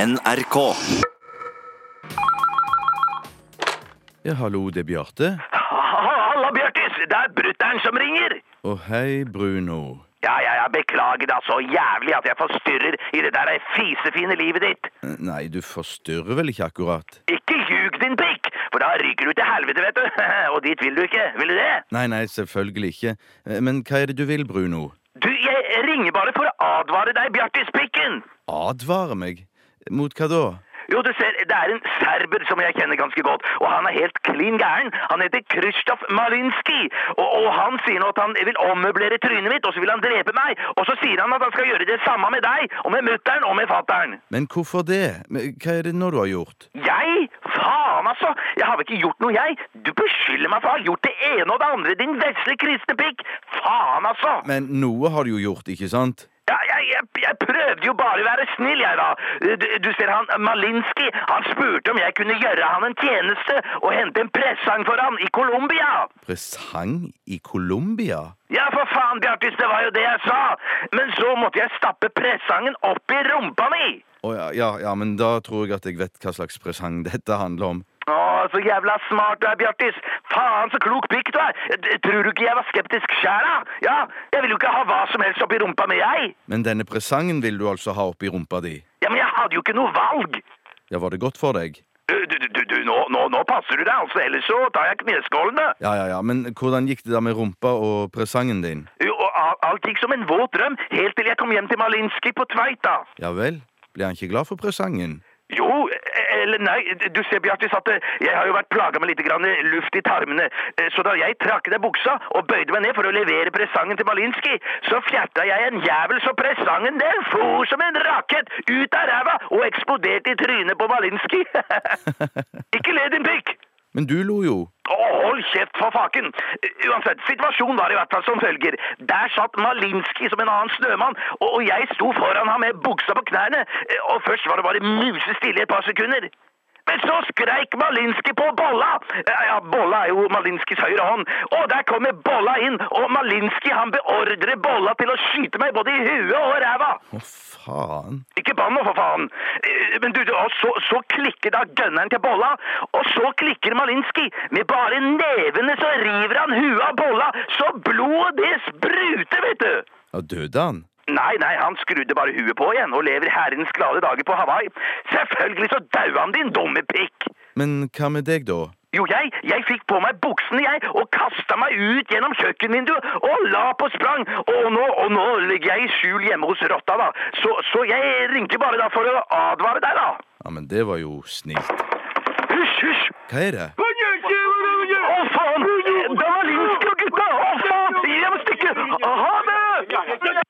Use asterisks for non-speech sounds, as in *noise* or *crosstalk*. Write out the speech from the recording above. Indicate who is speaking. Speaker 1: NRK.
Speaker 2: Ja, hallo, det er Bjarte.
Speaker 3: Halla, Bjørtis! Det er brutter'n som ringer!
Speaker 2: Å, hei, Bruno.
Speaker 3: Ja, ja, ja, beklager da så jævlig at jeg forstyrrer i det der fisefine livet ditt.
Speaker 2: Eh, Nei, du forstyrrer vel ikke akkurat?
Speaker 3: Ikke ljug din pikk, for da ryker du til helvete, vet du. *laughs* Og dit vil du ikke, vil du det?
Speaker 2: Nei, nei, selvfølgelig ikke. Eh, Men hva er det du vil, Bruno?
Speaker 3: Du, jeg ringer bare for å advare deg, Bjørtis pikken.
Speaker 2: Advare meg? Mot hva da?
Speaker 3: Jo, du ser, det er en serber som jeg kjenner ganske godt, og han er helt klin gæren. Han heter Krzysztof Malinski, og, og han sier nå at han vil ommøblere trynet mitt, og så vil han drepe meg, og så sier han at han skal gjøre det samme med deg, og med mutteren og med fatteren.
Speaker 2: Men hvorfor det? Men Hva er det nå du har gjort?
Speaker 3: Jeg? Faen, altså! Jeg har vel ikke gjort noe, jeg? Du beskylder meg for å ha gjort det ene og det andre, din vesle kristne pikk! Faen, altså!
Speaker 2: Men noe har du jo gjort, ikke sant?
Speaker 3: Ja, jeg, jeg, jeg prøvde jo bare å være snill, jeg, da. Du, du ser han Malinski, han spurte om jeg kunne gjøre han en tjeneste og hente en presang for han i Colombia!
Speaker 2: Presang i Colombia?
Speaker 3: Ja, for faen, Bjartis, det var jo det jeg sa! Men så måtte jeg stappe presangen opp i rumpa mi!
Speaker 2: Å ja, ja, ja, men da tror jeg at jeg vet hva slags presang *laughs* dette handler om.
Speaker 3: Å, så jævla smart du er, Bjartis! Faen, så klok pikk du er! D- Tror du ikke jeg var skeptisk sjæl, da? Ja, jeg vil jo ikke ha hva som helst oppi rumpa mi, jeg!
Speaker 2: Men denne presangen vil du altså ha oppi rumpa di?
Speaker 3: Ja, men jeg hadde jo ikke noe valg!
Speaker 2: Ja, var det godt for deg?
Speaker 3: Du, du, du, du nå, nå, nå passer du deg, altså, ellers så tar jeg kneskålene!
Speaker 2: Ja, ja, ja, men hvordan gikk det da med rumpa og presangen din?
Speaker 3: Jo, og al- alt gikk som en våt drøm, helt til jeg kom hjem til Malinski på Tveita.
Speaker 2: Ja vel, ble han ikke glad for presangen? *laughs*
Speaker 3: Jo, e- eller nei, du ser, Bjartis, at eh, jeg har jo vært plaga med litt grann eh, luft i tarmene. Eh, Så da jeg trakk ned buksa og bøyde meg ned for å levere presangen til Malinski, så fjerta jeg en jævel så presangen den for som en rakett ut av ræva og eksploderte i trynet på Malinski. *laughs* Ikke le, din pikk!
Speaker 2: Men du lo jo.
Speaker 3: Å, Hold kjeft for faken! Uansett, situasjonen var i hvert fall som følger. Der satt Malinski som en annen snømann, og og jeg sto foran ham med buksa på knærne, og først var det bare musestille i et par sekunder. Men så skreik Malinski på Bolla! Ja, ja, Bolla er jo Malinskis høyre hånd. Og der kommer Bolla inn, og Malinski han beordrer Bolla til å skyte meg både i huet og ræva!
Speaker 2: Å, faen.
Speaker 3: Ikke bann nå, for faen! Eh, Men du, du, og så, så klikker da gunneren til bolla, og så klikker Malinski. Med bare nevene så river han huet av bolla, så blodet det spruter, vet du!
Speaker 2: Ja, døde han?
Speaker 3: Nei, nei, han skrudde bare huet på igjen og lever herrens glade dager på Hawaii. Selvfølgelig så daua han, din dumme pikk!
Speaker 2: Men hva med deg, da?
Speaker 3: Jo, jeg, jeg fikk på meg buksene, jeg, og kasta meg ut gjennom kjøkkenvinduet og la på sprang. Og nå, og nå ligger jeg i skjul hjemme hos rotta, da. Så, så jeg ringte bare da for å advare deg, da.
Speaker 2: Ja, men det var jo snilt.
Speaker 3: Hysj, hysj!
Speaker 2: Hva er det?
Speaker 3: Å, faen! Det var Linsk og gutta! Å, faen! Jeg må stikke! Ha det!